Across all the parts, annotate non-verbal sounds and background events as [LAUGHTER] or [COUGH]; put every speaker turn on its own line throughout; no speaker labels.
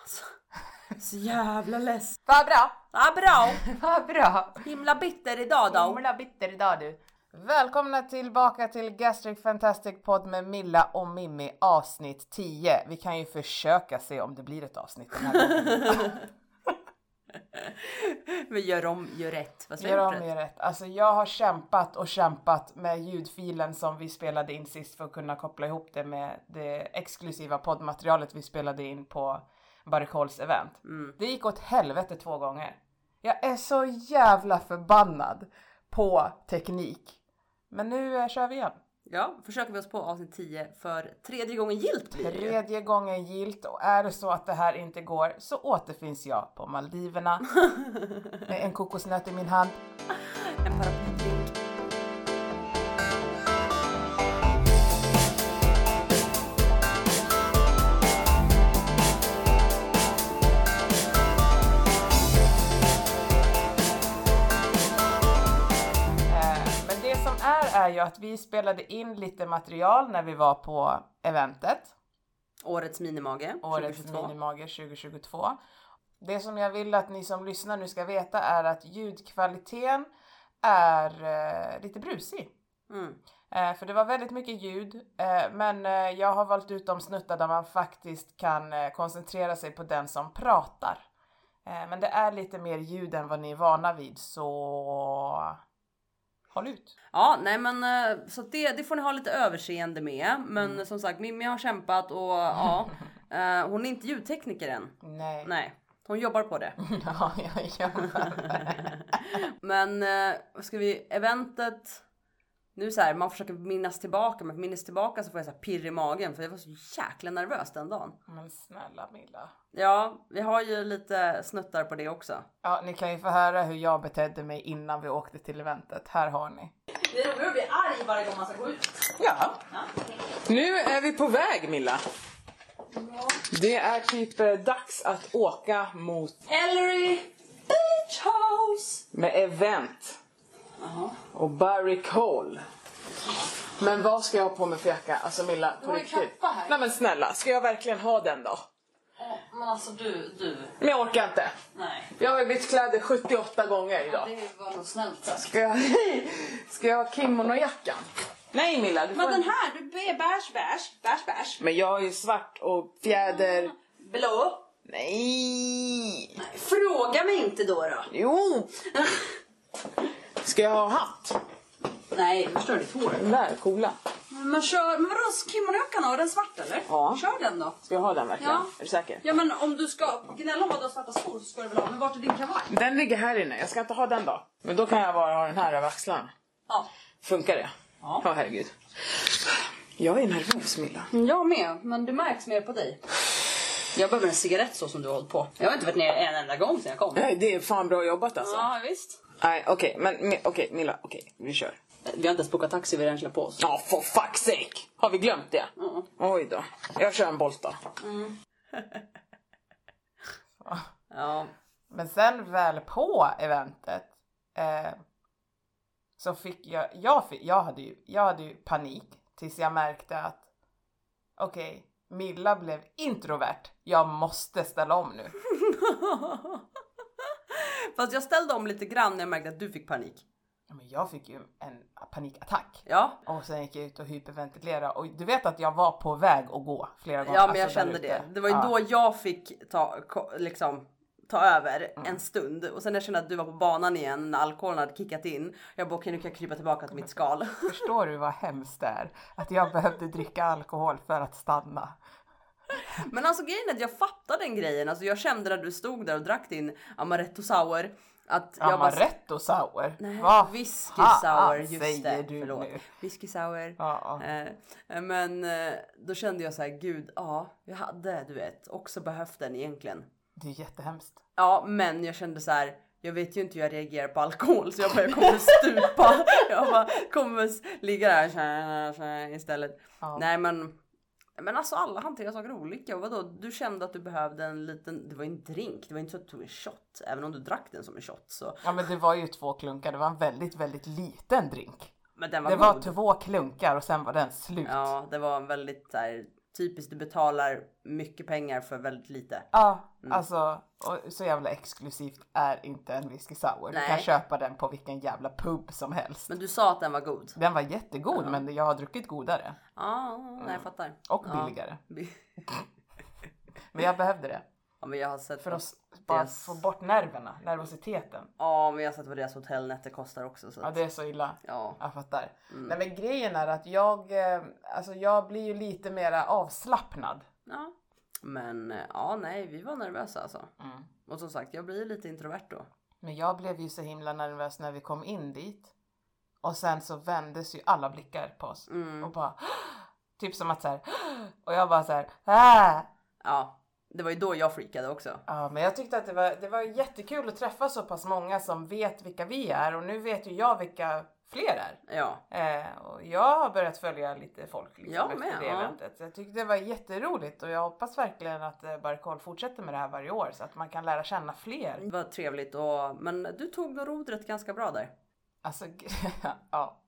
Alltså, så jävla less.
Vad bra! [LAUGHS]
Ja, bra.
Vad bra!
Himla bitter idag då.
Himla bitter idag du. Välkomna tillbaka till Gastric Fantastic Podd med Milla och Mimmi avsnitt 10. Vi kan ju försöka se om det blir ett avsnitt den här gången.
[LAUGHS] Men gör om, gör rätt. Fast vi
Gör
har
om
gjort rätt.
er rätt. Alltså jag har kämpat och kämpat med ljudfilen som vi spelade in sist för att kunna koppla ihop det med det exklusiva poddmaterialet vi spelade in på Barikols event.
Mm.
Det gick åt helvete två gånger. Jag är så jävla förbannad på teknik. Men nu eh, kör vi igen.
Ja, försöker vi oss på avsnitt 10 för tredje gången gillt blir det ju.
Tredje gången gilt och är det så att det här inte går så återfinns jag
[LAUGHS]
på Maldiverna med en kokosnöt i min hand.
En paraplydrink.
Eh, Men det som är är ju att vi spelade in lite material när vi var på eventet,
Årets minimage.
årets
2022.
minimager 2022. Det som jag vill att ni som lyssnar nu ska veta är att ljudkvaliteten är eh, lite brusig.
Mm.
Eh, för det var väldigt mycket ljud, eh, men eh, jag har valt ut de snuttar där man faktiskt kan eh, koncentrera sig på den som pratar. Eh, men det är lite mer ljud än vad ni är vana vid, så håll ut.
Ja, nej men eh, så att det, det får ni ha lite överseende med. Men
Mm.
som sagt, Mimmi har kämpat och
[LAUGHS]
ja, eh, hon är inte ljudtekniker än.
Nej.
Nej, hon jobbar på det.
[LAUGHS] Ja, jag jobbar.
Men eh, vad ska vi, eventet. Nu så här, man försöker minnas tillbaka, men minnas tillbaka så får jag så här pirr i magen för jag var så jäkla nervös den dagen.
Men snälla Milla.
Ja, vi har ju lite snuttar på det också. [LAUGHS]
Ja, ni kan ju få höra hur jag betedde mig innan vi åkte till eventet. Här har ni.
Det är roligt att bli arg varje gång man ska gå ut.
Ja. Nu är vi på väg Milla. Det är typ eh, dags att åka mot
Ellery Beach House!
med event. Och Barry Cole. Men vad ska jag ha på mig för jacka? Alltså Milla, på
har ju
riktigt.
kappa här.
Nej men snälla, ska jag verkligen ha den då?
Ja, Men alltså du, du.
Men jag orkar inte.
Nej.
Jag har ju bytt kläder 78 gånger idag.
Det var nog snällt. Alltså.
Ska jag, [LAUGHS] ska jag ha kimonojackan? Nej Milla, du får
Men den här, du är bärs, bärs, bärs, bärs.
Men jag är ju svart och fjäder...
Blå.
Nej!
Fråga mig inte då då.
Jo! Ska jag ha hatt?
Nej, förstör ditt hår.
Den där, coola.
Men kör, men vadå kimonojackan då? Är den svart eller?
Ja.
Kör den då.
Ska jag ha den verkligen?
Ja.
Är du säker?
Ja men om du ska gnälla om att du har svarta skor så ska du väl ha, men vart är din kavaj?
Den ligger här inne, jag ska inte ha den då. Men då kan jag bara ha den här över axlarna.
Ja.
Funkar det?
Ja.
Åh, herregud. Jag är nervös Milla.
Jag med, men det märks mer på dig. Jag behöver en cigarett så som du har hållit på. Jag har inte varit ner en enda gång sen jag kom.
Nej, det är fan bra jobbat alltså.
Ja, visst.
Nej, okej, men mi- okej Milla, okej, vi kör.
Vi har inte ens bokat taxi, vi har redan klä på oss.
Ja, for fuck's sake! Har vi glömt det? Mm. Oj då. Jag kör en Bolt då.
Ja,
Men sen väl på eventet eh, så fick jag, jag, fick, jag, hade ju, jag hade ju panik tills jag märkte att okej, Milla blev introvert. Jag måste ställa om nu.
fast jag ställde om lite grann när jag märkte att du fick panik.
Ja, Men jag fick ju en panikattack.
Ja,
Och sen gick jag ut och hyperventilerade och du vet att jag var på väg att gå flera gånger.
ja men jag
alltså, där
kände
ute.
det. Det var ju
Ja.
då jag fick ta, ko- liksom, ta över
Mm.
en stund och sen när jag kände att du var på banan igen när alkoholen hade kickat in. Jag bara okej nu kan jag krypa tillbaka till mitt skal.
Förstår du vad hemskt det är? Att jag behövde dricka alkohol för att stanna.
Men alltså grejen är att jag fattade den grejen. Alltså jag kände när du stod där och drack din amaretto sour att jag bara
Amaretto sour?
Nej,
Vad
whisky
fan
sour, just
säger
det.
du
Förlåt.
nu? Ah,
Whisky sour.
Ja, ja.
Eh, men eh, då kände jag så här, gud, ja, jag hade, du vet, också behövt den egentligen.
Det är jättehemskt.
Ja, men jag kände så här, jag vet ju inte hur jag reagerar på alkohol så jag bara, jag kommer stupa. [LAUGHS] jag bara, kommer s- ligga där så här, så här, istället.
Ja.
Nej, men men alltså alla hanterar saker olika. Och vadå, du kände att du behövde en liten, det var ju en drink, det var inte så att du tog en shot. Även om du drack den som en shot så.
Ja men det var ju två klunkar, det var en väldigt, väldigt liten drink.
Men den var
det
god.
var två klunkar och sen var den slut.
Ja, det var en väldigt så här, typiskt, du betalar mycket pengar för väldigt lite.
Ja,
Mm.
alltså och så jävla exklusivt är inte en whisky sour. Du kan
Nej.
köpa den på vilken jävla pub som helst.
Men du sa att den var god.
Den var jättegod men jag har druckit godare
Ja, nej, jag fattar. [LAUGHS]
och
Ja.
billigare.
Bi-
Men jag behövde det
Ja, men jag har sett.
för
vad-
att s- bara
Yes.
få bort nerverna, nervositeten.
Ja, men jag har sett vad deras hotellnätter kostar också. Så
Ja,
att,
det är så illa.
ja.
Jag fattar.
Mm.
Nej men grejen är att jag, eh, alltså jag blir ju lite mera avslappnad.
ja. Men eh, ja, nej, vi var nervösa alltså.
Mm.
Och som sagt, jag blir lite introvert då.
Men jag blev ju så himla nervös när vi kom in dit. Och sen så vändes ju alla blickar på oss
Mm.
och bara [GASPS] typ som att så här [GASPS] och jag bara så här "Ah!"
Ja, det var ju då jag freakade också.
Ja, men jag tyckte att det var, det var jättekul att träffa så pass många som vet vilka vi är och nu vet ju jag vilka fler är.
Ja,
Eh, och jag har börjat följa lite folk liksom,
Jag
efter
med,
det
ja.
eventet. Så Jag tyckte det var jätteroligt och jag hoppas verkligen att eh, Barkol fortsätter med det här varje år så att man kan lära känna fler.
det var trevligt och men du tog nog rodret ganska bra där.
[LAUGHS] Alltså, gre- ja.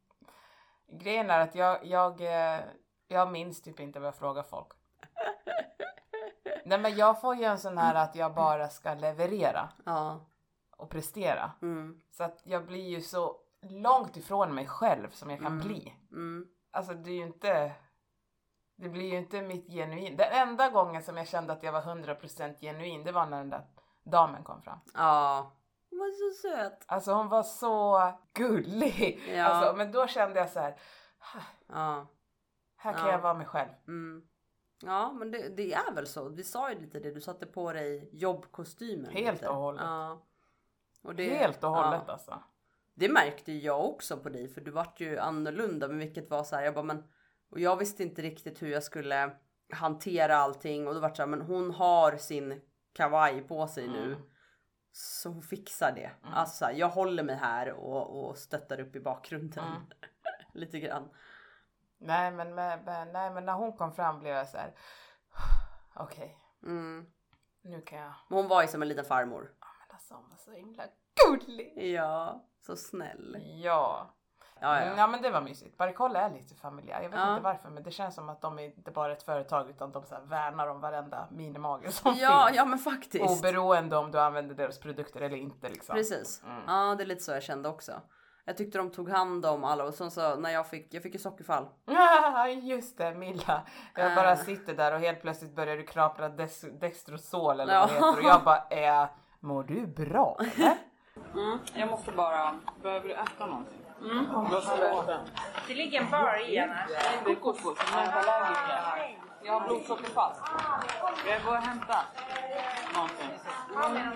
Grejen är att jag, jag, eh, jag minns typ inte vad jag frågar folk. Nej men jag får ju en sån här att jag bara ska leverera
Ja,
och prestera.
mm,
Så att jag blir ju så långt ifrån mig själv som jag kan bli.
mm.
Alltså det är ju inte... Det blir ju inte mitt genuin. Den enda gången som jag kände att jag var 100% genuin, det var när den där damen kom fram.
Ja, hon var så söt.
Alltså hon var så gullig.
Ja.
Alltså, men då kände jag så här,
Ja,
här kan
Ja.
jag vara mig själv.
mm. Ja, men det, det är väl så. Vi sa ju lite det. Du satte på dig jobbkostymen.
Helt
lite.
och hållet.
Ja. Och det,
Helt och hållet
Ja.
alltså.
Det märkte ju jag också på dig, för du vart ju annorlunda, men vilket var så här. Jag bara, men och jag visste inte riktigt hur jag skulle hantera allting och då vart det så här, men hon har sin kavaj på sig nu. Så hon fixar det. Alltså jag håller mig här och, och stöttar upp i bakgrunden. [LAUGHS] Lite grann.
Nej men, men, men, nej men när hon kom fram blev jag så här, okej,
Mm.
nu kan jag.
Men hon var ju som en liten farmor.
Men alltså hon var så himla gullig.
Ja, så snäll.
Ja.
Ja,
Mm,
ja.
Ja men det var mysigt. Barikolla är lite familjär. Jag vet
Ja.
inte varför men det känns som att de är inte bara ett företag utan de så här värnar om varenda minimager som
Ja,
finns.
ja men faktiskt.
Oberoende om du använder deras produkter eller inte liksom.
Precis. Ja, det är lite så jag kände också. Jag tyckte de tog hand om alla och sen så när jag fick, jag fick ju sockerfall. [LAUGHS]
Ah, [LAUGHS] Just det Milla.
Ehm.
Jag bara
Äh.
sitter där och helt plötsligt börjar du knapra des- Destrosol eller
Ja.
vad det heter och jag bara eh, mår du bra
[LAUGHS]
eller?
Mm,
Jag måste bara...
Behöver du äta någonting? Mm. Vad ska du äta?
Det ligger en bar i henne.
Det är kokos, som är allergiker.
Jag har blodsockerfall.
Jag går och hämtar någonting. Mm.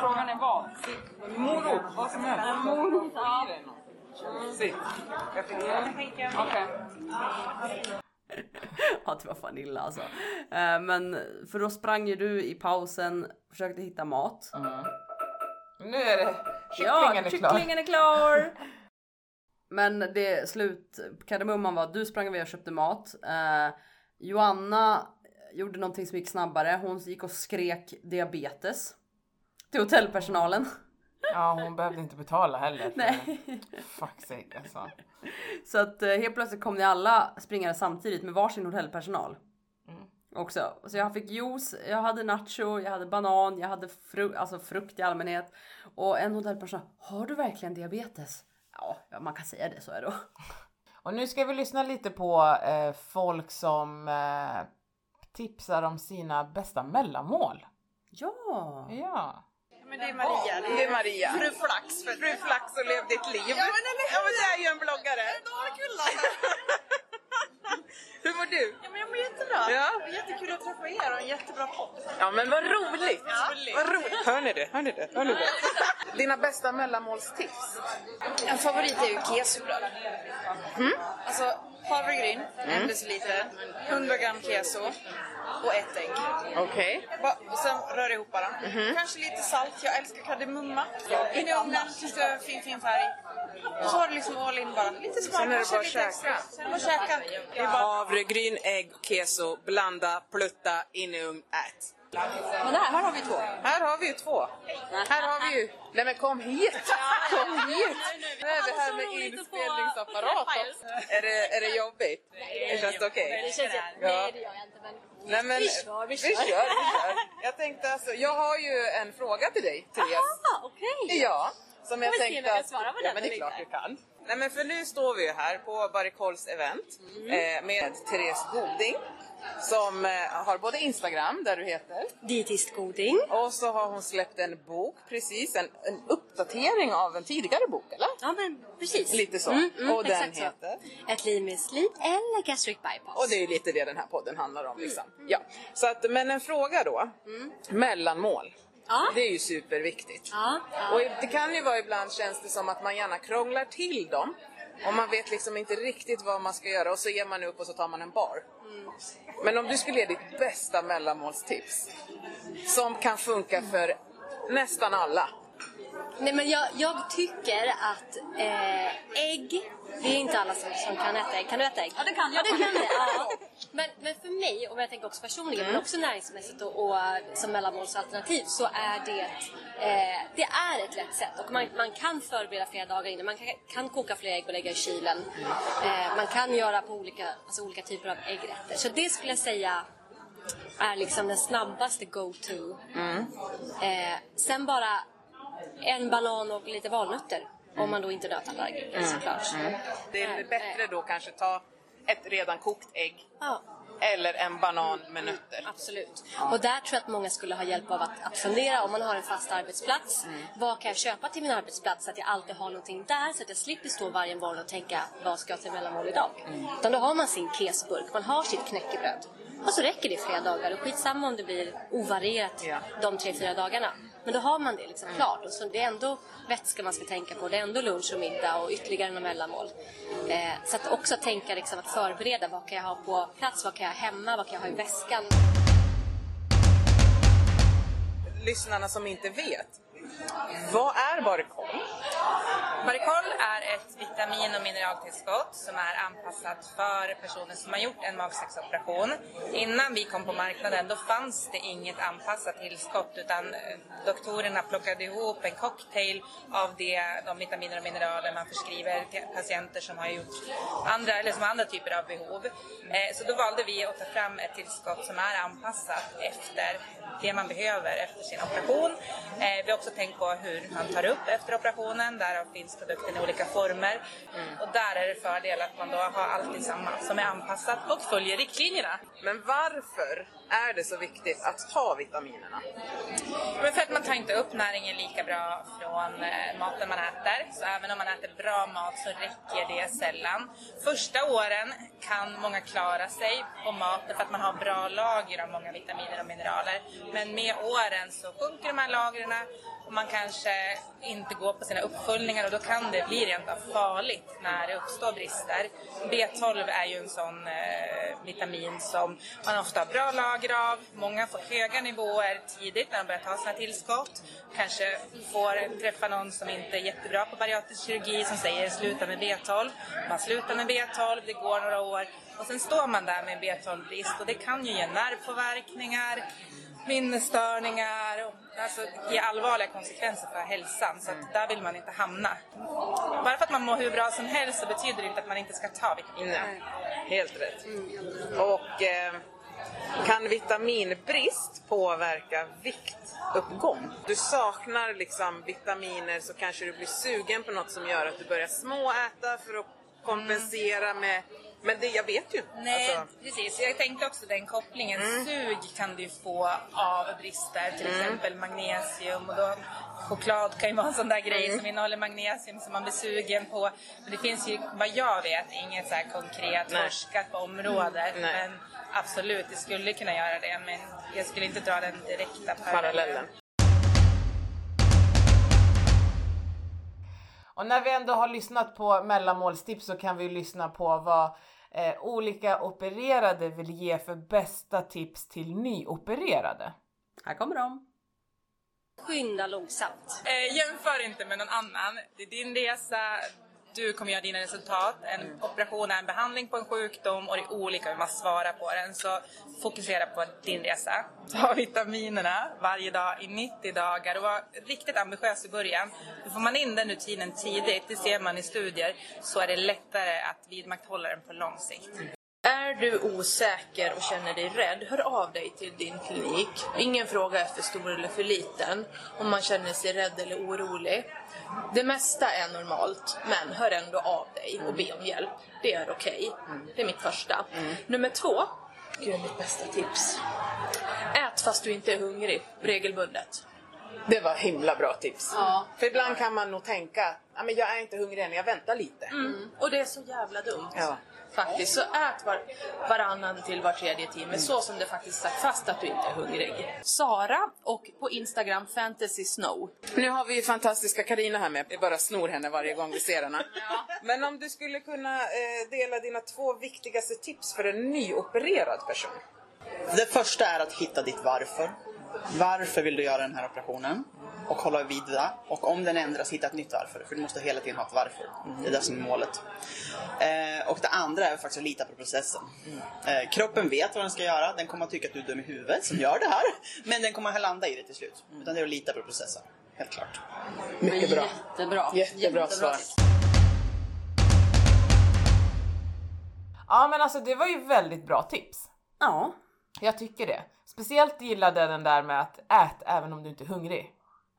Frågan är vad?
Morot, vad som helst. Morot,
ja.
Sitt. Jag fick det. Okej.
Ja det var fan illa alltså. Eh, Men för då sprang ju du i pausen, försökte hitta mat.
Nu är det kycklingen är klar.
kycklingen är klar! Men det slut, kardemumman var att du sprang iväg och köpte mat. Eh, Joanna gjorde någonting som gick snabbare. Hon gick och skrek diabetes till hotellpersonalen.
Ja hon behövde inte betala heller.
[LAUGHS]
För
Nej.
Fuck sake alltså.
Så att eh, helt plötsligt kom ni alla springare samtidigt med varsin hotellpersonal. Också. Så jag fick juice, jag hade nacho, jag hade banan, jag hade fru- alltså frukt i allmänhet. Och en hotellpersonal, har du verkligen diabetes? Ja, ja, man kan säga det så är det. [LAUGHS]
Och nu ska vi lyssna lite på eh, folk som eh, tipsar om sina bästa mellanmål.
Ja!
Ja.
Det är Maria. Det är Maria. Fru Flax. Fru Flax och Lev ditt liv. Ja men, eller, ja, men det är ju en bloggare. Då har kul [LAUGHS] Hur mår du? Ja, men jag mår jättebra. Ja. Jättekul att träffa er och en jättebra podd. Ja men vad roligt. Vad roligt. Hör ni det? Hör ni det? Hör ni det? [LAUGHS] Dina bästa mellanmålstips?
En favorit är ju kesobröd.
Mm.
Alltså havregryn, en deciliter, 100 gram keso och ett ägg.
Okej.
Va- och sen rör ihop bara.
Mhm.
Kanske lite salt, jag älskar kardemumma. In i ugnen tills det är fin, fin färg. Och så har du liksom all in bara. Lite smak,
Sen är det
kanske
bara
lite
att
extra.
käka.
Sen är det bara att käka.
Havregryn, ägg, keso, blanda, plutta, in i ugn, ät.
Men här, här har vi två.
Här har vi ju två. Här har vi ju... Nej men kom hit! Kom hit! Nu är vi
Alltså,
här med inspelningsapparat också. Är det, är det jobbigt? Det känns det okej?
Det känns jätte... Nej, det gör jag inte. Men...
Nej, men,
Vi kör, vi kör.
Vi kör, vi kör. Jag tänkte alltså, jag har ju en fråga till dig, Therese.
Ah, okej!
Ja, som jag
Får vi se om
tänkte
jag kan
att...
svara på
ja,
den
men det är
eller
klart du
inte.
kan. Nej men för nu står vi ju här på Barikols event
Mm.
eh, med Therese Goding som eh, har både Instagram, där du heter,
Dietistgoding.
och så har hon släppt en bok precis, en, en uppdatering av en tidigare bok, eller?
Ja, men precis. Mm,
Lite så. Och den
exakt så.
heter?
Ett liv med slit eller gastric bypass.
Och det är ju lite det den här podden handlar om. Liksom.
Mm.
Ja. Så att, men en fråga då. Mellanmål.
Ja.
Det är ju superviktigt.
Ja, ja.
Och det kan ju vara ibland känns det som att man gärna krånglar till dem. Och man vet liksom inte riktigt vad man ska göra och så ger man upp och så tar man en bar.
Mm.
Men om du skulle ge ditt bästa mellanmålstips. Som kan funka
Mm.
för nästan alla.
Nej, men jag, jag tycker att eh, ägg, det är inte alla som, som kan äta ägg. Kan du äta ägg?
Ja, det kan jag.
Ja, det kan det.
[LAUGHS]
Ja. Men, men för mig, och jag tänker också personligen,
Mm.
men också näringsmässigt och, och som mellanmålsalternativ, så är det, eh, det är ett lätt sätt. Och man, man kan förbereda flera dagar innan. Man kan, kan koka flera ägg och lägga i kylen. Eh, man kan göra på olika, alltså olika typer av äggrätter. Så det skulle jag säga är liksom den snabbaste go-to. Eh, sen bara en banan och lite valnötter. Om man då inte är nötallergiker såklart.
Det är
Nej,
bättre
nej.
då kanske ta ett redan kokt ägg.
Ja.
Eller en banan med nötter.
Absolut. Och där tror jag att många skulle ha hjälp av att, att fundera om man har en fast arbetsplats. Vad kan jag köpa till min arbetsplats så att jag alltid har någonting där så att jag slipper stå varje morgon och tänka vad ska jag till mellanmål idag? Utan då har man sin kesburk, man har sitt knäckebröd. Och så räcker det i flera dagar och skitsamma om det blir ovarierat
Ja.
de tre, fyra dagarna. Men då har man det liksom klart. Och så det är ändå vätska man ska tänka på, det är ändå lunch och middag och ytterligare några mellanmål. Eh, så att också tänka liksom att förbereda, vad kan jag ha på plats, vad kan jag ha hemma, vad kan jag ha i väskan?
lyssnarna som inte vet. Vad är Barikol?
Barikol är ett vitamin och mineraltillskott som är anpassat för personer som har gjort en magsexoperation. Innan vi kom på marknaden då fanns det inget anpassat tillskott utan eh, doktorerna plockade ihop en cocktail av det, de vitaminer och mineraler man förskriver till patienter som har gjort andra, eller som har andra typer av behov. Eh, Så då valde vi att ta fram ett tillskott som är anpassat efter det man behöver efter sin operation. Eh, vi har också tänkt på hur man tar upp efter operationen. Därav finns produkten i olika former. Och där är det fördel att man då har alltid samma som är anpassat och följer riktlinjerna.
Men varför är det så viktigt att ta vitaminerna?
Men för att man tar inte upp näringen lika bra från eh, maten man äter. Så även om man äter bra mat så räcker det sällan. Första åren kan många klara sig på maten för att man har bra lager av många vitaminer och mineraler. Men med åren så sjunker de här lagren och man kanske inte går på sina uppföljningar och då kan det bli rent av farligt när det uppstår brister. B12 är ju en sån eh, vitamin som man ofta har bra lager av. Många får höga nivåer tidigt när de börjar ta sina tillskott. Kanske får träffa någon som inte är jättebra på bariatrisk kirurgi som säger sluta med B12. Man slutar med B12, det går några år och sen står man där med en B12-brist och det kan ju ge nervpåverkningar, minnesstörningar och alltså ge allvarliga konsekvenser för hälsan. Så att där vill man inte hamna. Bara för att man mår hur bra som helst så betyder det inte att man inte ska ta vitaminer.
Nej, helt rätt. Och eh, kan vitaminbrist påverka viktuppgång? Du saknar liksom vitaminer så kanske du blir sugen på något som gör att du börjar småäta för att kompensera
Mm.
med... Men det, jag vet ju.
Nej,
Alltså,
precis. Jag tänkte också den kopplingen. Sug kan du få av brister, till exempel magnesium. Och då, choklad kan ju vara en sån där grej som innehåller magnesium som man blir sugen på. Men det finns ju, vad jag vet, inget så här konkret
Nej.
forskat på området.
Nej.
Men absolut, det skulle kunna göra det. Men jag skulle inte dra den direkta
parallellen.
Och när vi ändå har lyssnat på mellanmålstips så kan vi ju lyssna på vad eh, olika opererade vill ge för bästa tips till nyopererade.
Här kommer de.
Skynda långsamt.
Eh, jämför inte med någon annan. Det är din resa, du kommer göra dina resultat.
Mm.
En operation är en behandling på en sjukdom och det är olika hur man svarar på den. Så fokusera på din resa. Ta vitaminerna varje dag i 90 dagar och var riktigt ambitiös i början. För Får man in den rutinen tidigt, det ser man i studier, så är det lättare att vidmakthålla den på lång sikt.
Är du osäker och känner dig rädd, hör av dig till din klinik. Ingen fråga är för stor eller för liten om man känner sig rädd eller orolig. Det mesta är normalt, men hör ändå av dig och be om hjälp. Det är okej. Det är mitt första. Nummer två, gud, mitt bästa tips. Ät fast du inte är hungrig, regelbundet.
Det var himla bra tips.
Ja.
För ibland kan man nog tänka att "Ja, men jag är inte hungrig än, jag väntar lite.
Mm. Och det är så jävla dumt.
Ja.
Faktiskt, så ät var, varannan till var tredje timme, så som det faktiskt sagt fast att du inte är hungrig. Sara och på Instagram Fantasy Snow.
Nu har vi ju fantastiska Karina här med. Vi bara snor henne varje gång vi ser [LAUGHS] henne. Men om du skulle kunna eh, dela dina två viktigaste tips för en nyopererad person?
Det första är att hitta ditt varför. Varför vill du göra den här operationen? Och hålla vid det. Och om den ändras, hitta ett nytt varför. För du måste hela tiden ha ett varför.
Mm.
Det är det som är målet. Eh, och det andra är faktiskt att lita på processen.
Mm.
Eh, kroppen vet vad den ska göra. Den kommer att tycka att du är dum i huvudet som gör det här. Men den kommer att landa i det till slut.
Mm.
Utan det är att lita på processen. Helt klart.
Mycket bra.
Jättebra.
Jättebra svar.
Ja men alltså det var ju väldigt bra tips.
Ja.
Jag tycker det. Speciellt gillade jag den där med att ät även om du inte är hungrig.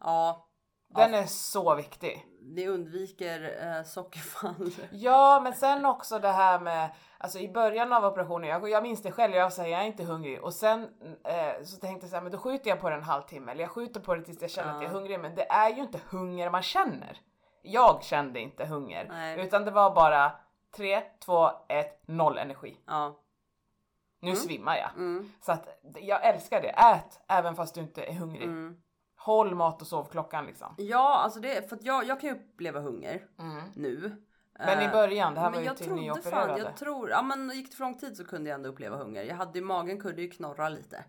Ja.
Den är så viktig.
Det undviker eh, sockerfall. [LAUGHS]
Ja, men sen också det här med, alltså i början av operationen, jag, jag minns det själv, jag säger jag är inte hungrig och sen eh, så tänkte jag så här, men då skjuter jag på det en halvtimme eller jag skjuter på det tills jag känner att jag är hungrig, men det är ju inte hunger man känner. Jag kände inte hunger,
Nej.
utan det var bara 3, 2, 1, 0 energi.
Ja.
Nu svimmar jag.
Mm.
Så att jag älskar det, ät även fast du inte är hungrig.
Mm.
Håll mat och sovklockan liksom.
Ja, alltså det för att jag, jag kan ju uppleva hunger nu.
Men i
Eh,
början, det här
men
var ju
jag
till
trodde
nyopererade.
Fan, jag tror, ja men gick det för lång tid så kunde jag ändå uppleva hunger. Jag hade ju magen kunde ju knorra lite.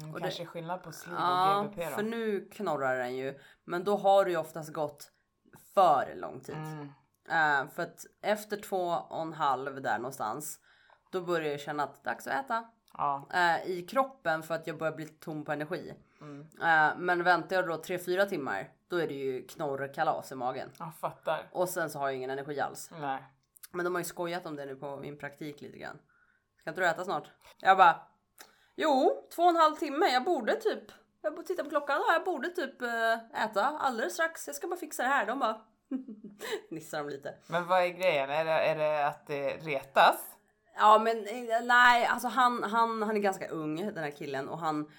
Mm,
och
kanske skillnad på sliv och
Ja,
GBP då.
för nu knorrar den ju. Men då har det ju oftast gått för lång tid. Eh, för att efter två och en halv där någonstans. Då börjar jag känna att dags att äta.
Ja.
eh, i kroppen för att jag börjar bli tom på energi. Eh, men väntar jag då 3-4 timmar då är det ju knorrkalas i magen.
Jag fattar.
Och sen så har jag ingen energi alls.
Nej.
Men de har ju skojat om det nu på min praktik lite grann. Ska inte du äta snart? Jag bara, jo, två och en halv timme, jag borde typ, jag borde titta på klockan, ja, jag borde typ eh, äta alldeles strax, jag ska bara fixa det här. De bara, [LAUGHS] nissar de lite.
Men vad är grejen? Är det, är det att det retas?
Ja men eh, nej, alltså han, han, han är ganska ung den här killen och han,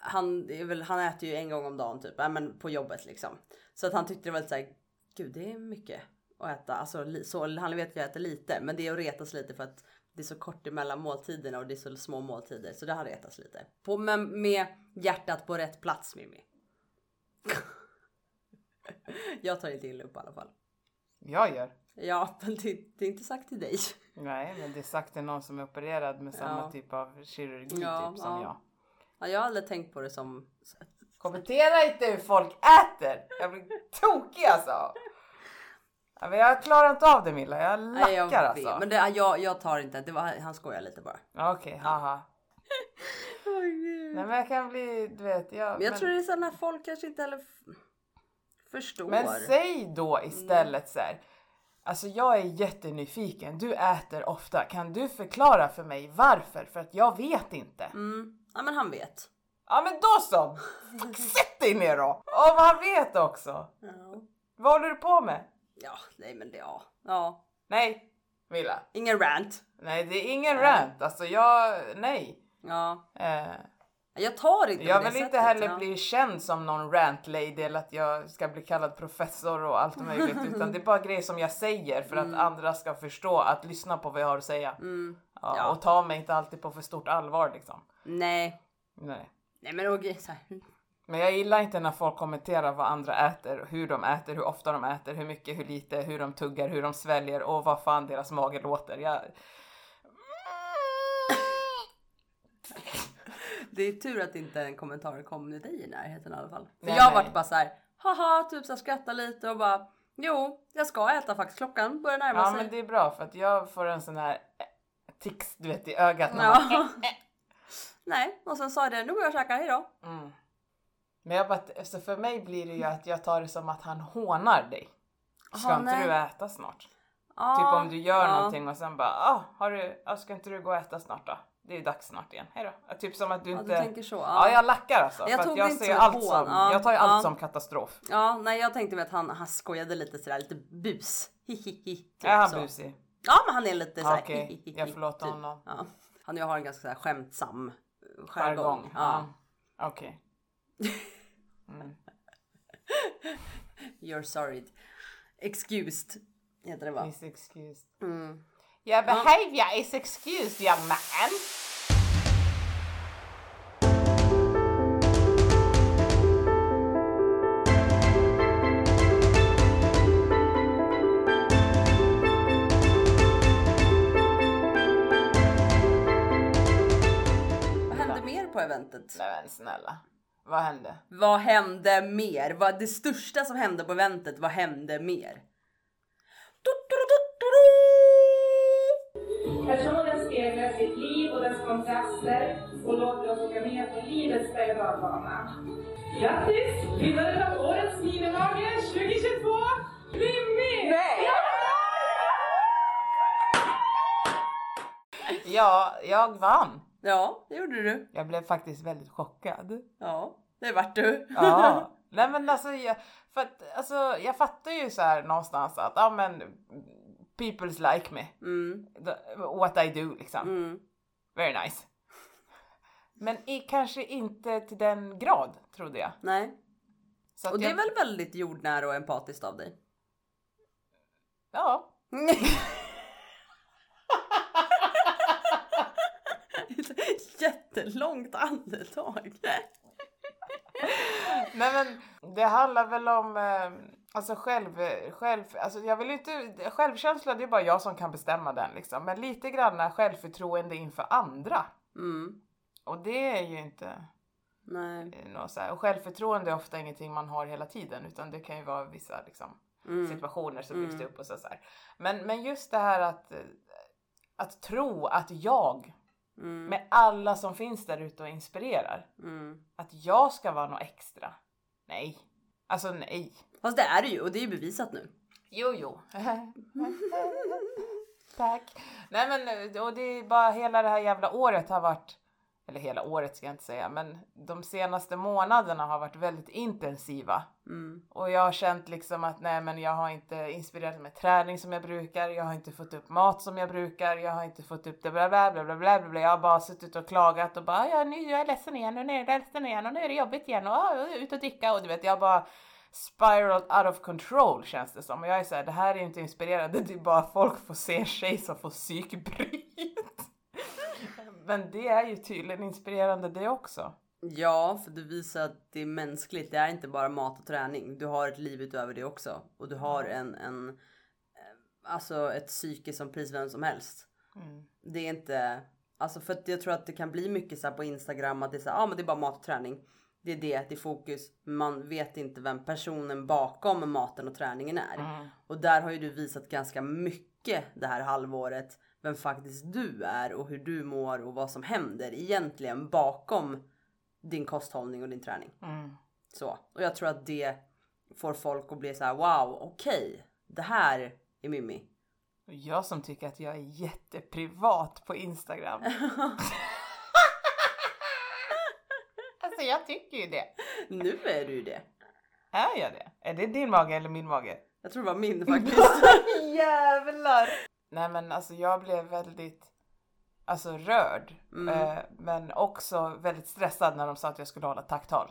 han, är väl, han äter ju en gång om dagen typ, äh, men på jobbet liksom. Så att han tyckte det var lite såhär, gud det är mycket att äta. Alltså, li- så, han vet att jag äter lite men det är att retas lite för att det är så kort emellan måltiderna och det är så små måltider så det har retas lite. På, men med hjärtat på rätt plats Mimmi. [LAUGHS] jag tar inte illa upp i alla fall.
Jag gör.
Ja [LAUGHS] men det, det är inte sagt till dig.
Nej, men det är sagt till någon som är opererad med samma
Ja.
typ av kirurgi
Ja,
typ,
ja.
som jag.
Ja, jag har aldrig tänkt på det som
Kommentera inte hur folk äter! Jag blir tokig alltså! Ja, men jag klarar inte av det Milla, jag lackar
Nej, jag vet.
alltså.
Men det, jag, jag tar inte, det var, han skojar lite bara.
Ja, Okej,
[LAUGHS]
haha. Nej men jag kan bli, du vet, jag...
Men jag tror det är sådana folk kanske inte heller f- förstår.
Men säg då istället så här. Alltså jag är jättenyfiken. Du äter ofta. Kan du förklara för mig varför? För att jag vet inte.
Mm. Ja men han vet.
Ja men då så! Fuck, Sätt dig ner då! Om han vet också.
Ja,
Vad håller du på med?
nej men det, ja. ja.
Nej, Milla.
Ingen rant.
Nej det är ingen rant. Alltså jag, nej.
Ja.
Eh,
Jag tar inte på
jag
det
vill inte
sättet,
heller
ja.
bli känd som någon rant lady eller att jag ska bli kallad professor och allt
[LAUGHS]
möjligt utan det är bara grejer som jag säger för att
Mm.
andra ska förstå att lyssna på vad jag har att säga. Ja,
Ja.
Och ta mig inte alltid på för stort allvar liksom.
Nej.
Nej.
Nej men okej så här. [LAUGHS]
Men jag gillar inte när folk kommenterar vad andra äter, hur de äter, hur ofta de äter, hur mycket, hur lite, hur de tuggar, hur de sväljer och vad fan deras mage låter. Jag...
Det är tur att inte en kommentar kom till dig i närheten i alla fall. För
Nej,
jag
nej.
vart bara så här. haha typ så här, skratta lite och bara Jo, jag ska äta faktiskt. Klockan börjar närma
Ja
sig.
men det är bra för att jag får en sån här eh, tics du vet i ögat. när man-
Ja. [LAUGHS] Nej, och sen sa jag det. Nu går jag och käkar, hejdå.
Mm. Men jag bara, så för mig blir det ju att jag tar det som att han hånar dig. Ska
Aha,
inte
nej.
du äta snart?
Ja,
Typ om du gör
ja.
någonting och sen bara, ah, har du, ah, ska inte du gå och äta snart då? Det är ju dags snart igen, hejdå. Ja, Typ som att du
Ja,
inte...
du tänker så.
Ja,
Ja.
jag lackar alltså.
Jag
Jag, för
tog
att
det
jag,
inte
ser
som ett
allt
hån.
som,
Ja,
jag tar ju allt
ja.
som katastrof.
ja, nej jag tänkte mig att han, han skojade lite sådär, lite bus. [LAUGHS] Hihihi. Typ
är han
så.
busig?
Ja, men han är lite såhär.
Ja, Okej, jag förlåter
typ.
honom.
Ja. Han och jag har en ganska såhär skämtsam
Jargong.
jargong. Ja.
Ja. Okej.
You're sorry. Excused. Heter det va?
Is excused.
Mm.
Your behavior is excused young man.
Vad hände mer på eventet?
Nej men snälla. Vad hände?
Vad hände mer? Vad, det största som hände på eventet, vad hände mer?
Personen speglar sitt liv och dess kontraster och låter oss åka med på livets berg och dalbana. Grattis! Vinnaren av årets Minimage 2022, Mimmi! Nej!
Ja, jag vann.
Ja, det gjorde du.
Jag blev faktiskt väldigt chockad.
Ja, det vart du.
Ja. [LAUGHS] Nej men alltså jag, för att, alltså, jag fattar ju så här någonstans att ja men people's like me.
Mm,
The- What I do liksom.
mm.
Very nice. Men i, kanske inte till den grad trodde jag.
[LAUGHS] Nej.
Så att
Och det
jag,
är väl väldigt jordnära och empatiskt av dig?
Ja.
[LAUGHS] Jättelångt andetag.
Nej men det handlar väl om eh, alltså själv, själv alltså jag vill inte, självkänsla det är bara jag som kan bestämma den liksom. Men lite granna självförtroende inför andra.
Mm,
Och det är ju inte
nej.
eh, något så här. Och självförtroende är ofta ingenting man har hela tiden utan det kan ju vara vissa liksom,
Mm.
situationer som byggs det upp och så, så här. Men, men just det här att, eh, att tro att jag
Mm.
med alla som finns där ute och inspirerar
Mm.
att jag ska vara något extra. Nej, alltså nej.
Fast det är det ju och det är ju bevisat nu.
Jo, jo. [LAUGHS] Tack. Nej men eh, och det är bara hela det här jävla året har varit, eller hela året ska jag inte säga, men de senaste månaderna har varit väldigt intensiva.
Mm.
Och jag har känt liksom att nej men jag har inte inspirerat med träning som jag brukar, jag har inte fått upp mat som jag brukar, jag har inte fått upp det bla bla bla bla bla bla. bla. Jag har bara suttit och klagat och bara ja, nu är jag ledsen igen och nu är jag ledsen igen och nu är det jobbigt igen och ja, ut och dricka och du vet jag har bara spiraled out of control känns det som. Och jag är såhär, det här är inte inspirerande, det är bara folk får se en tjej som får psykbryt. men det är ju tydligen inspirerande det också.
Ja, för du visar att det är mänskligt. Det är inte bara mat och träning. Du har ett liv utöver det också. Och du har en, en eh, alltså ett psyke som precis vem som helst. Det är inte, alltså för att jag tror att det kan bli mycket så här på Instagram att det är så här, ah, men det är bara mat och träning. Det är det, det är fokus. Man vet inte vem personen bakom maten och träningen är. Och där har ju du visat ganska mycket det här halvåret. Vem faktiskt du är och hur du mår och vad som händer egentligen bakom din kosthållning och din träning.
Mm.
Så. Och jag tror att det får folk att bli så här: wow, okej, det här är Mimmi.
Och jag som tycker att jag är jätteprivat på Instagram. alltså jag tycker ju det.
Nu är du ju det.
Är jag det? Är det din mage eller min mage?
Jag tror det var
[LAUGHS]
min faktiskt.
Jävlar! Nej men alltså jag blev väldigt alltså rörd. Eh, men också väldigt stressad när de sa att jag skulle hålla tacktal.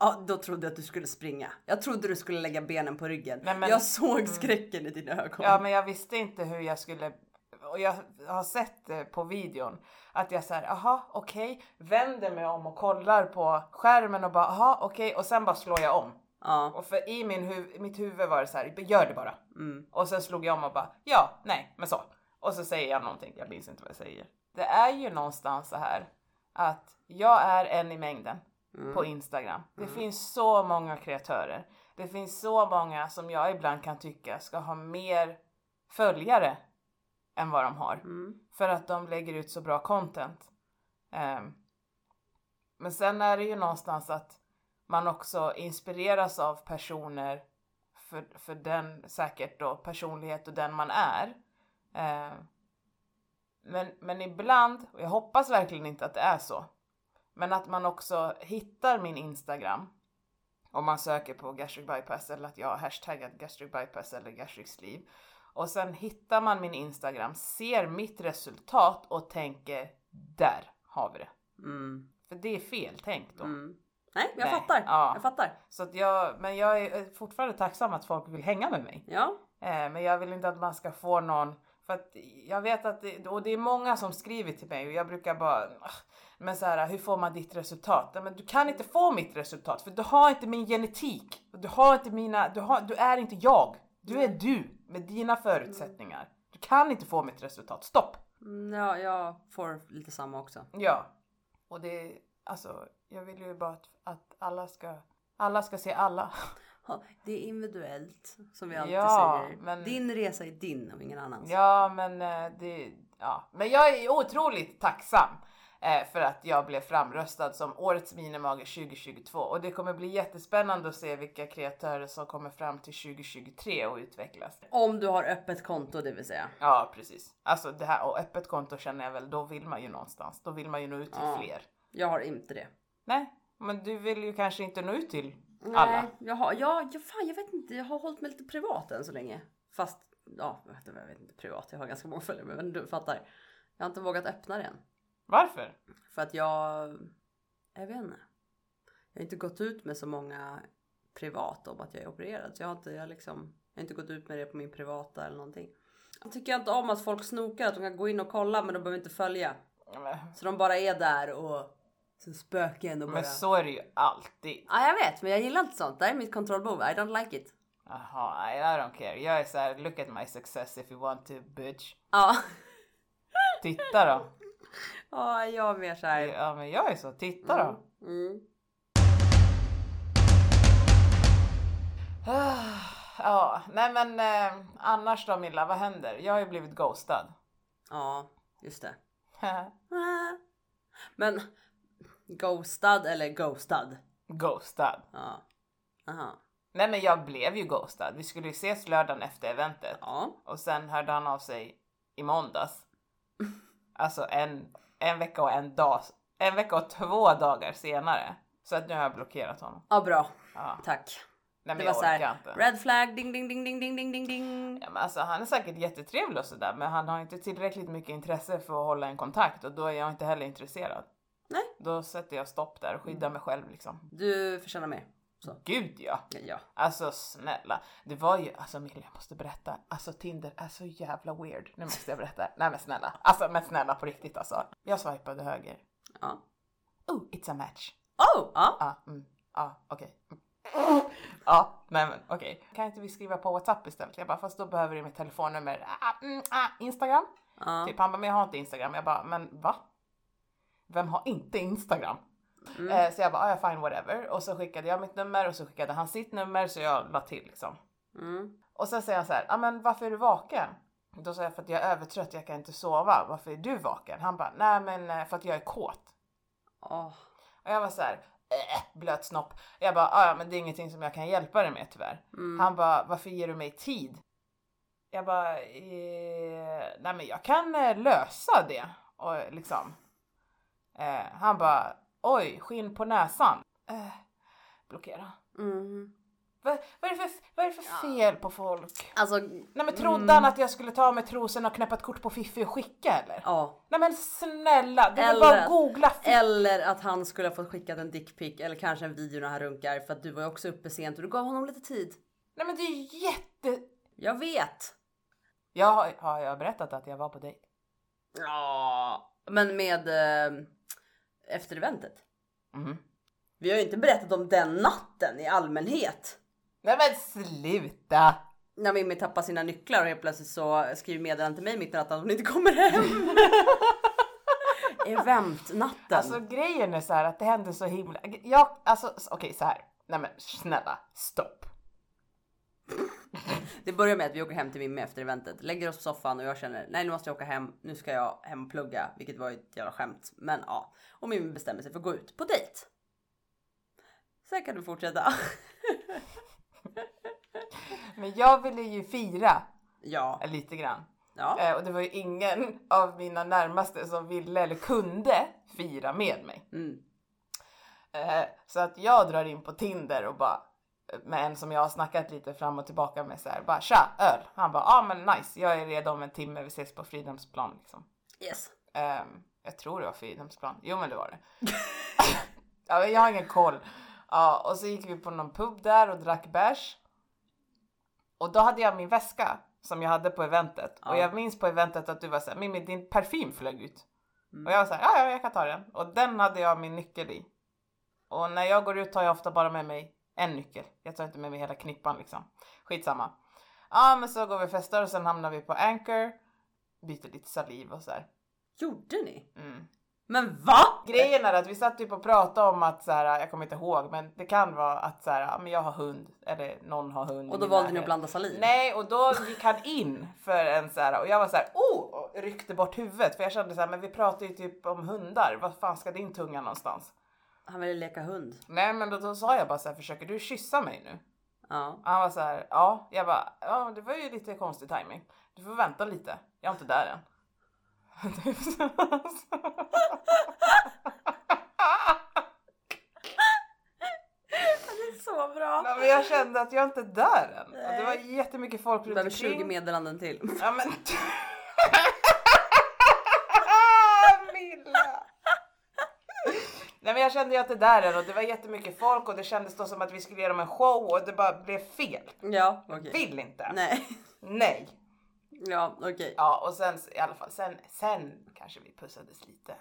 ja, då trodde jag att du skulle springa. Jag trodde du skulle lägga benen på ryggen.
Nej, men- Mm.
Jag såg skräcken i dina ögon.
Ja men jag visste inte hur jag skulle och jag har sett det på videon att jag säger aha okej, vänder mig om och kollar på skärmen och bara aha okej och sen bara slår jag om.
Ja.
Och för i min huv- mitt huvud var det så här, gör det bara. Och sen slog jag om och bara, ja, nej, men så. Och så säger jag någonting, jag minns inte vad jag säger. Det är ju någonstans så här att jag är en i mängden. på Instagram. Det finns så många kreatörer. Det finns så många som jag ibland kan tycka ska ha mer följare än vad de har. För att de lägger ut så bra content. Ehm, men sen är det ju någonstans att man också inspireras av personer för, för den säkert då personlighet och den man är. Eh, men, men ibland, och jag hoppas verkligen inte att det är så, men att man också hittar min Instagram om man söker på gastric bypass eller att jag har hashtaggat gastric bypass eller gastric sleeve. Och sen hittar man min Instagram, ser mitt resultat och tänker där har vi det.
Mm.
För det är fel tänkt då.
Mm. Nej, jag
Nej.
fattar.
Ja.
Jag fattar.
Så att jag, men jag är eh, fortfarande tacksam att folk vill hänga med mig.
Ja.
Eh, men jag vill inte att man ska få någon, för att jag vet att det, och det är många som skriver till mig och jag brukar bara, "Ah, men så här, hur får man ditt resultat? Nej, men du kan inte få mitt resultat för du har inte min genetik. Du har inte mina, du, har, du är inte jag. Du är du med dina förutsättningar. Du kan inte få mitt resultat. Stopp!
Mm, Ja, jag får lite samma också.
Ja. Och det, alltså, jag vill ju bara att, att alla ska, alla ska se alla. [LAUGHS]
Ja, Det är individuellt som vi alltid
Ja,
säger.
men-
Din resa är din och ingen annans.
Ja, men eh, det... Ja. Men jag är otroligt tacksam eh, för att jag blev framröstad som Årets Minimager 2022 och det kommer bli jättespännande att se vilka kreatörer som kommer fram till 2023 och utvecklas.
Om du har öppet konto det vill säga.
Ja, precis. Alltså det här och öppet konto känner jag väl, då vill man ju någonstans. Då vill man ju nå ut till
Ja.
fler.
Jag har inte det.
Nej, men du vill ju kanske inte nå ut till alla.
Nej, jag har, ja, ja, fan jag vet inte. Jag har hållit mig lite privat än så länge. Fast, ja, jag vet inte, jag vet inte privat. Jag har ganska många följare men du fattar. Jag har inte vågat öppna det än.
Varför?
För att jag, jag vet inte. Jag har inte gått ut med så många privat om att jag är opererad. Så jag har inte, jag liksom, jag har inte gått ut med det på min privata eller någonting. Jag tycker inte om att folk snokar, att de kan gå in och kolla men de behöver inte följa. Så de bara är där och så spöken och bara...
Men så är det ju alltid.
Ja jag vet men jag gillar inte sånt. Det här är mitt kontrollbehov. I don't like it.
Jaha, I don't care. Jag är så här, look at my success if you want to bitch.
Ja,
Titta då.
[LAUGHS] ja jag är mer såhär...
Ja men jag är så, titta då.
Mm.
Ah, Ja, nej men eh, annars då Milla, vad händer? Jag har ju blivit ghostad. [LAUGHS]
Ja, just det. Men ghostad eller ghostad?
ghostad.
Ja. Aha.
Nej men jag blev ju ghostad. Vi skulle ju ses lördagen efter eventet
Ja.
och sen hörde han av sig
[LAUGHS]
i måndags. Alltså en, en vecka och en dag, en vecka och två dagar senare. Så att nu har jag blockerat honom.
Ja bra.
Ja.
Tack.
Nej men
Det var
jag
så
orkar
här,
inte.
red flag ding ding ding ding ding ding ding ding.
Ja, men alltså, han är säkert jättetrevlig och sådär men han har inte tillräckligt mycket intresse för att hålla en kontakt och då är jag inte heller intresserad.
Nej.
Då sätter jag stopp där och skyddar mig själv liksom.
Du förtjänar mer.
Gud ja!
Ja.
Alltså snälla, det var ju, alltså Milla jag måste berätta, alltså Tinder är så jävla weird. Nu måste jag berätta. Nej men snälla, alltså men snälla på riktigt alltså. Jag swipade höger.
Ja.
Oh, it's a match.
Oh! Ja.
Ja, mm, ja, okej. Mm. Ja, nej men okej. Kan inte vi skriva på WhatsApp istället? Jag bara, fast då behöver du mitt telefonnummer. Ah, mm, ah, Instagram?
Ja.
Typ han bara, men jag har inte Instagram. Jag bara, men va? Vem har inte Instagram?
Mm.
Eh, så jag bara, ah, ja fine whatever. Och så skickade jag mitt nummer och så skickade han sitt nummer så jag la till liksom.
Mm.
Och sen säger han så här, ja men varför är du vaken? Då sa jag för att jag är övertrött, jag kan inte sova. Varför är du vaken? Han bara, nej men eh, för att jag är kåt.
Åh.
Och jag var så här, äh, blöt snopp. Jag bara, "Ah, ja men det är ingenting som jag kan hjälpa dig med tyvärr.
Mm.
Han bara, varför ger du mig tid? Jag bara, eh, nej men jag kan eh, lösa det. Och liksom. Eh, han bara, oj, skinn på näsan. Eh, blockera.
Mm.
Vad, vad är det för, vad är det för fel på folk?
Alltså,
Nej men trodde han att jag skulle ta av mig trosorna och knäppa ett kort på Fiffi och skicka eller?
ja.
Nej men snälla, det är
Eller-
bara att googla Fiffi.
Eller att han skulle ha fått skickat en dickpic eller kanske en video när han runkar för att du var ju också uppe sent och du gav honom lite tid.
Nej men det är ju jätte...
Jag vet.
Jag har, har jag berättat att jag var på dejt?
Ja. Men med eh, efter eventet.
Mhm.
Vi har ju inte berättat om den natten i allmänhet.
Nej men sluta!
när Mimmi tappar sina
[LAUGHS]
nycklar och helt plötsligt så skriver meddelandet till mig mitt i natten att hon inte kommer hem. eventnatten.
Alltså grejen är så här att det händer så himla... Jag, alltså s- okej så här. Nej men snälla, stopp.
Det börjar med att vi åker hem till Mimmi efter eventet, lägger oss på soffan och jag känner nej nu måste jag åka hem, nu ska jag hem och plugga, vilket var ju ett jävla skämt. Men ja, och Mimmi bestämmer sig för att gå ut på dejt. Sen kan du fortsätta. [LAUGHS]
Men jag ville ju fira
ja,
eh, lite grann.
ja,
Eh, och det var ju ingen av mina närmaste som ville eller kunde fira med mig.
mm,
Eh, så att jag drar in på Tinder och bara med en som jag har snackat lite fram och tillbaka med så här bara tja öl. Han bara ja ah, men nice jag är redo om en timme vi ses på Fridhemsplan liksom.
yes.
Ehm, jag tror det var Fridhemsplan. Jo men det var det. [LAUGHS] ja, men jag har ingen koll. Ja, och så gick vi på någon pub där och drack bärs. Och då hade jag min väska som jag hade på eventet. Och jag minns på eventet att du var såhär, Mimmi din parfym flög ut. Och jag var såhär, ja ja jag kan ta den. Och den hade jag min nyckel i. Och när jag går ut tar jag ofta bara med mig en nyckel. Jag tar inte med mig hela knippan liksom. Skitsamma. Ja men så går vi och festar och sen hamnar vi på Anchor. Byter lite saliv och sådär.
Gjorde ni?
Mm.
Men va?
Grejen är att vi satt typ och pratade om att så här, jag kommer inte ihåg, men det kan vara att så här, ja, men jag har hund eller någon har hund. i
Och då
min
valde ni att
närhet.
blanda saliv?
Nej,
[LAUGHS]
och då gick han in för en så här och jag var så här, oh, och ryckte bort huvudet för jag kände så här, men vi pratar ju typ om hundar. Vad fan ska din tunga någonstans?
Han ville leka hund.
Nej, men då, då sa jag bara så här, försöker du kyssa mig nu?
Ja,
Och han var så här, ja, jag bara, ja, det var ju lite konstig timing. Du får vänta lite. Jag är inte där än. Typ så.
så bra.
Nej, men jag kände att jag inte är där än. Och det var jättemycket folk
Du
runt
behöver
omkring.
20 meddelanden till.
[LAUGHS] Ja men... Milla! Nej men jag kände ju att det där är och det var jättemycket folk och det kändes då som att vi skulle ge dem en show och det bara blev fel.
Ja, okej.
Vill inte.
Nej. [LAUGHS]
Nej.
Ja, okej.
Ja och sen i alla fall, sen, sen kanske vi pussades lite.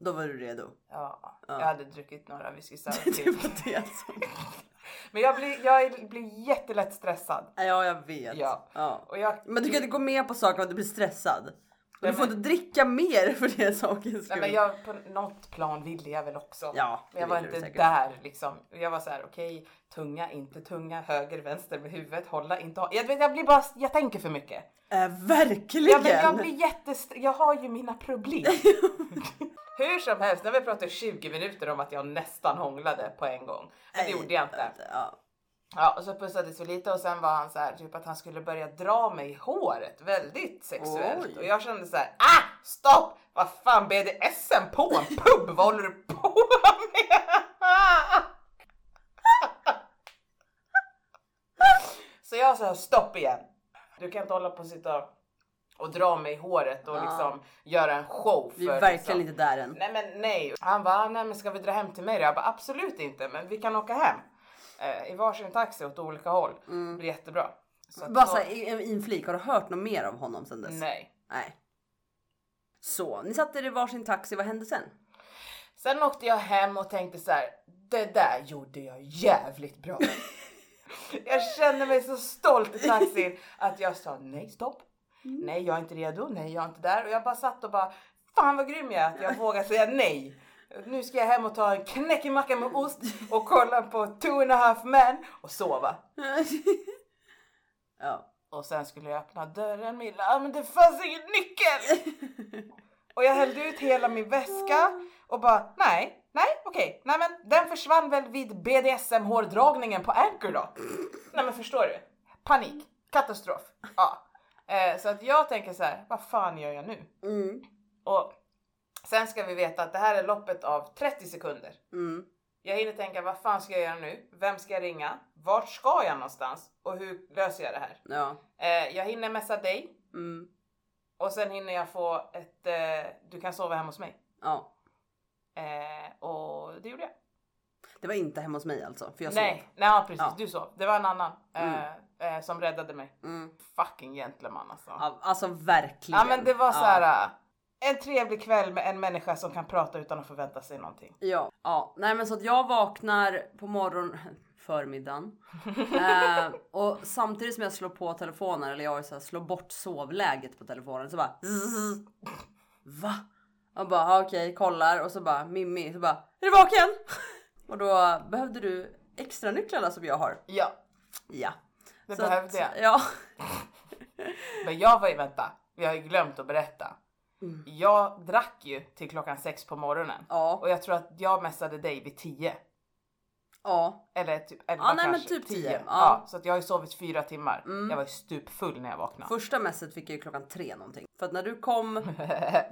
Då var du redo.
Ja, jag hade druckit några whisky
[LAUGHS] Det var det som...
Men jag blir, jag blir jättelätt stressad.
Ja, jag vet.
Ja.
ja.
Och jag,
Men du kan inte gå med på saker om att du blir stressad. Och
Nej,
du får
men-
inte dricka mer [LAUGHS] för det sakens skull.
nej, men jag, på något plan ville jag väl också.
Ja,
Men jag
det
var
vill du
inte
säkert.
där liksom. Jag var så här: okej, tunga, inte tunga, höger, vänster med huvudet, hålla, inte hålla. Jag, vet, jag blir bara, jag tänker för mycket.
Eh, verkligen!
Jag, blir- jag blir jättest... jag har ju mina problem. Hur som helst, när vi pratade 20 minuter om att jag nästan hånglade på en gång. Men det
Nej,
gjorde jag inte.
Ja.
Ja, och så pussades vi lite och sen var han så här typ att han skulle börja dra mig i håret väldigt sexuellt
Oj.
och jag kände så här ah stopp! Vad fan BDSM på en pub? Vad håller du på med? [LAUGHS] så jag sa stopp igen. Du kan inte hålla på och sitta och dra mig i håret och liksom göra en show.
Vi
för
är verkligen
liksom,
inte där än.
Nej men nej. Han bara, "Ah, nej men ska vi dra hem till mig då? Jag bara absolut inte men vi kan åka hem. Eh, I varsin taxi åt olika håll. Det blir jättebra. Så att
Bara
då-
så här, i- i en flik, har du hört något mer av honom sen dess?
Nej.
Nej. Så, ni satte er i varsin taxi, vad hände
[LAUGHS]
sen?
Sen åkte jag hem och tänkte så här. Det där gjorde jag jävligt bra. jag kände mig så stolt i taxin att jag sa nej stopp. Nej jag är inte redo. Nej jag är inte där. Och jag bara satt och bara fan vad grym jag är att jag vågar säga nej. Nu ska jag hem och ta en knäckemacka med ost och kolla på two and a half men och sova.
ja.
Och sen skulle jag öppna dörren Milla, ja, men det fanns ingen nyckel! och jag hällde ut hela min väska och bara nej, nej okej, nej men den försvann väl vid BDSM hårdragningen på Anchor då? nej men förstår du? Panik, katastrof. Ja. Eh, så att jag tänker så här, vad fan gör jag nu?
Mm.
Och sen ska vi veta att det här är loppet av 30 sekunder.
Mm.
Jag hinner tänka, vad fan ska jag göra nu? Vem ska jag ringa? Vart ska jag någonstans? Och hur löser jag det här?
Ja.
Eh, jag hinner messa dig
Mm.
och sen hinner jag få ett, eh, du kan sova hemma hos mig.
Ja.
Eh, och det gjorde jag.
Det var inte hemma hos mig alltså, för jag
nej,
sov.
nej ja, precis,
Ja.
du sov. Det var en annan eh, eh, som räddade mig.
Mm.
Fucking gentleman alltså. Ja,
Ja, Alltså verkligen.
men det var så
Ja.
här. eh, En trevlig kväll med en människa som kan prata utan att förvänta sig någonting.
Ja, ja. Nej, men så att jag vaknar på morgon [LAUGHS] förmiddagen eh, och samtidigt som jag slår på telefonen eller jag så här, slår bort sovläget på telefonen så bara zzz, [LAUGHS] va? Och bara ah, okej, kollar och så bara Mimmi, så bara är du vaken? [LAUGHS] Och då behövde du extra nycklarna som jag har.
Ja,
Ja.
det
Så att-
behövde jag.
Ja. [LAUGHS]
Men jag var ju, vänta, vi har ju glömt att berätta. Jag drack ju till klockan sex på morgonen.
Mm. Ja.
Och jag tror att jag messade dig vid tio.
Ja.
Eller typ elva
Ja, nej, men
kanske.
typ tio.
Ja.
Ja. Mm.
så att jag har ju sovit fyra timmar. Jag var ju stupfull när jag vaknade.
Första messet fick jag ju klockan tre någonting. För att när du
[LAUGHS]
kom.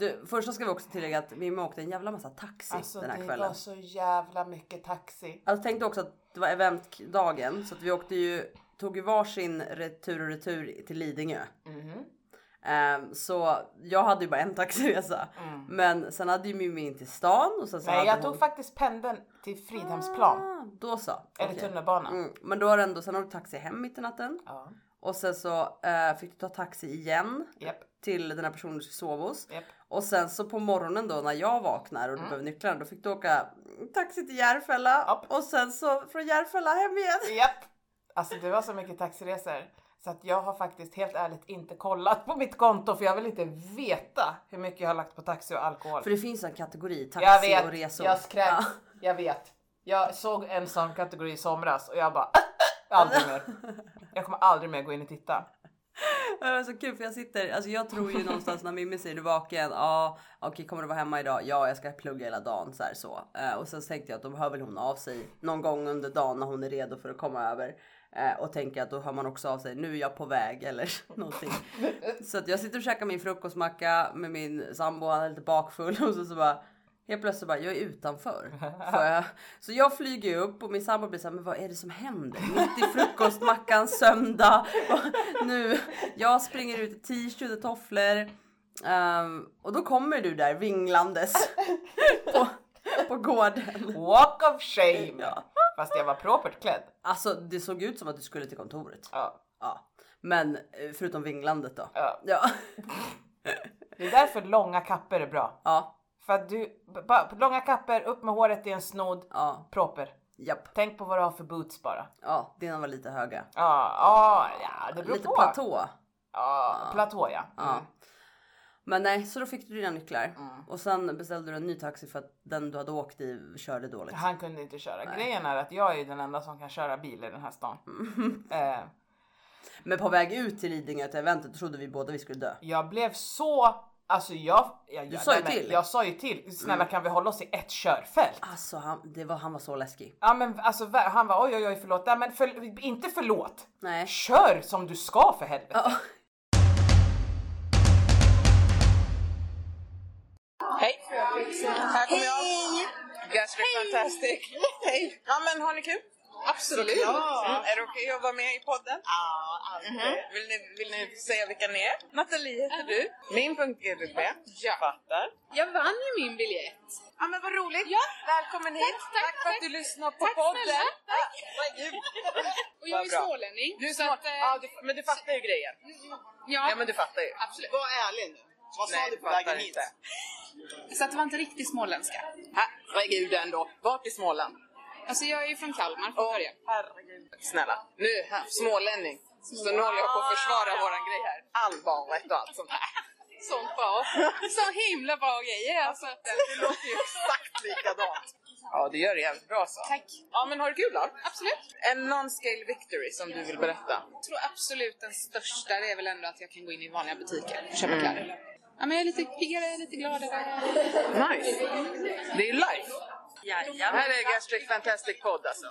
Du, första ska vi också tillägga att Mimmi åkte en jävla massa taxi
Alltså
den här
det
kvällen.
var så jävla mycket taxi.
Alltså, Jag tänkte också att det var eventdagen så att vi åkte ju, tog ju varsin retur och retur till Lidingö.
Mhm.
Ehm, så jag hade ju bara en taxiresa. Men sen hade ju Mimmi in till stan och sen så
Mm. Nej
hade
jag tog
hon...
faktiskt pendeln till Fridhemsplan.
Ah, Då så.
Eller
Okej.
tunnelbanan.
Mm, men då har du ändå, sen har du taxi hem mitt i natten.
Ja.
Och sen så eh, fick du ta taxi igen
Japp.
till den här personen du skulle sova hos.
Japp. Mm.
Och sen så på morgonen då när jag vaknar och du behöver nycklarna då fick du åka taxi till Järfälla
Japp.
och sen så från Järfälla hem igen.
Japp. Alltså det var så mycket taxiresor. Så att jag har faktiskt helt ärligt inte kollat på mitt konto för jag vill inte veta hur mycket jag har lagt på taxi och alkohol.
För det finns en kategori taxi
jag vet,
och resor.
jag skrek.
Ja. [LAUGHS]
Jag vet. Jag såg en sån kategori i somras och
[LAUGHS]
jag bara aldrig mer. Jag kommer aldrig mer gå in och titta.
Det var så kul för jag sitter, alltså jag tror ju någonstans när Mimmi säger du är vaken, ja okej kommer du vara hemma idag? Ja jag ska plugga hela dagen så här så. Eh, och sen så tänkte jag att då hör väl hon av sig någon gång under dagen när hon är redo för att komma över. Eh, och tänker att då hör man också av sig, nu är jag på väg eller [LAUGHS] någonting. Så att jag sitter och käkar min frukostmacka med min sambo, han är lite bakfull [LAUGHS] och så, så bara Helt plötsligt bara, jag är
[LAUGHS]
utanför. Får jag- Så jag flyger ju upp och min sambo blir såhär, men vad är det som händer? Mitt i frukostmackan söndag. [LAUGHS] Och nu, jag springer ut i t-shirt och tofflor. Ehm, och då kommer du där vinglandes
[LAUGHS]
på, på gården.
Walk of shame!
Ja.
Fast jag var propert klädd.
Alltså det såg ut som att du skulle till kontoret.
Ja.
Ja. Men eh, förutom vinglandet då.
Ja.
Ja. [LAUGHS]
Det är därför långa kapper är bra.
Ja.
För att du, b- bara långa kapper, upp med håret i en snodd,
Ja.
proper.
Japp.
Tänk på vad du har för boots bara.
Ja, dina var lite höga.
Ja, ja, ja det beror
Lite
på.
platå.
Ja, platå ja. Mm.
Men nej, så då fick du dina nycklar och sen beställde du en ny taxi för att den du hade åkt i körde liksom. dåligt.
Han kunde inte köra. Grejen är att jag är ju den enda som kan köra bil i den här stan.
Mm. [LAUGHS]
Eh,
Men på väg ut till Lidingö till eventet trodde vi båda vi skulle dö.
jag blev så, alltså jag, jag,
Du sa ju
nej, men
till. Mm.
jag sa ju till. Snälla kan vi hålla oss i ett körfält?
Alltså han, det var, han var så läskig.
Ja men alltså vä- han var oj oj oj förlåt, nej men för, inte förlåt.
Nej.
Kör som du ska för helvete.
Ja.
Hej! Här kommer jag. Gastric Fantastic. Hej! Ja men har ni kul? Absolut! Mm. Är det okej att vara med i podden? Ja, alltid. Vill, ni, vill ni säga vilka ni är? Nathalie heter du. Min punkt GDB. Ja. Fattar.
Jag vann ju min biljett.
Ja men vad roligt! Ja. Välkommen hit! Tack, för att du lyssnar på podden!
snälla.
Tack Och jag är smålänning. Du är
eh,
små... ja, du, men du fattar ju grejen. Ja. men du fattar ju.
Absolut.
Var ärlig nu. Vad sa
Nej,
du
du
på vägen
fattar
hit?
inte.
Så att det var inte riktigt småländska.
Herregud ändå. Vart i Småland?
Alltså jag är ju från Kalmar från början.
Snälla, nu här, smålänning. Så nu håller jag på att försvara våran grej här. All barnrätt och allt sånt där.
Sånt bra. Så himla bra grejer alltså.
Det låter ju exakt likadant. Ja, det gör det jävligt bra så.
Tack.
Ja, men har du kul då?
Absolut.
En non-scale victory som du vill berätta.
Jag tror absolut den största det är väl ändå att jag kan gå in i vanliga butiker och köpa
Mm.
kläder. Ja, men jag är lite piggare, lite gladare.
Nice! Det är ju life! Här är Gastric Fantastic Podd alltså.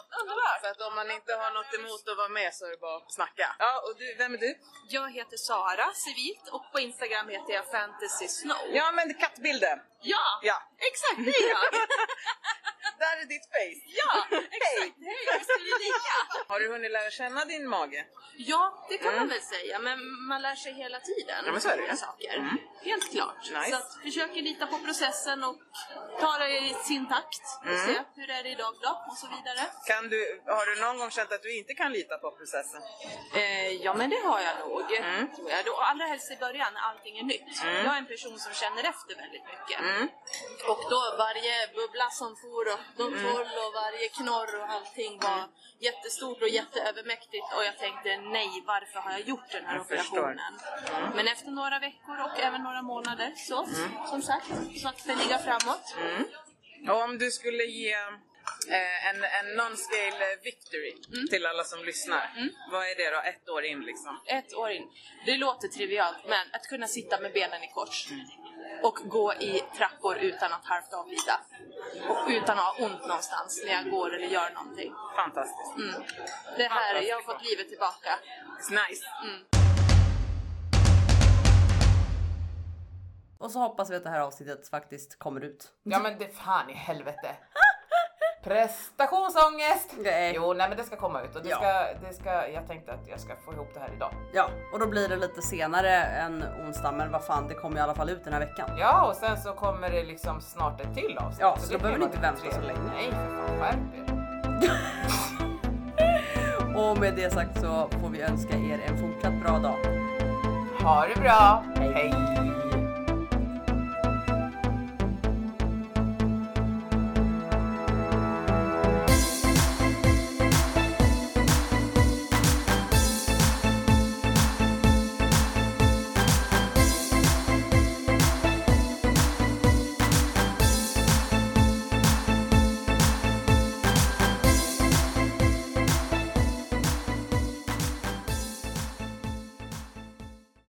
Så att om man inte har något emot att vara med så är det bara att snacka. Ja, och du, vem är du?
Jag heter Sara Civilt och på Instagram heter jag Fantasy Snow.
Ja, men kattbilden!
Ja,
Ja,
exakt
[LAUGHS]
det är jag!
där är ditt face!
Ja, exakt! Hej, visst är vi lika?
Har du hunnit lära känna din mage?
Ja, det kan man väl säga, men man lär sig hela tiden.
Mm. Ja, men så är det ju. Mm.
nya saker. Helt klart.
Nice.
Så att försöka lita på processen och ta det i sin takt. Och
Mm.
se hur är det idag då? Och så vidare.
Kan du, har du någon gång känt att du inte kan lita på processen?
Eh, ja, men det har jag nog.
Mm.
Tror jag. Då, allra helst i början när allting är nytt.
Mm.
Jag är en person som känner efter väldigt mycket. Och då varje bubbla som for och De
Mm.
troll och varje knorr och allting var jättestort och jätteövermäktigt och jag tänkte nej, varför har jag gjort den här
Jag förstår. Mm.
operationen? Men efter några veckor och även några månader så, som sagt, sakteliga framåt.
Och om du skulle ge eh, en, en non-scale victory
Mm.
till alla som lyssnar. Vad är det då, ett år in liksom?
Ett år in. Det låter trivialt, men att kunna sitta med benen i kors och gå i trappor utan att halvt avlida. Och utan att ha ont någonstans när jag går eller gör någonting.
Fantastiskt.
Mm. Det här, jag har fått livet tillbaka.
It's nice.
Och så hoppas vi att det här avsnittet faktiskt kommer ut.
Ja men det fan i helvete. Prestationsångest!
Nej.
Jo, nej men det ska komma ut och det
Ja.
ska, det ska, jag tänkte att jag ska få ihop det här idag.
Ja, och då blir det lite senare än onsdag, men vad fan, det kommer i alla fall ut den här veckan.
Ja, och sen så kommer det liksom snart ett till avsnitt.
Ja,
Så
så
det
då behöver ni
blir
inte
bara
vänta så
trevligt.
länge.
Nej, för fan skärp er.
Och med det sagt så får vi önska er en fortsatt bra dag.
Ha det bra! Hej.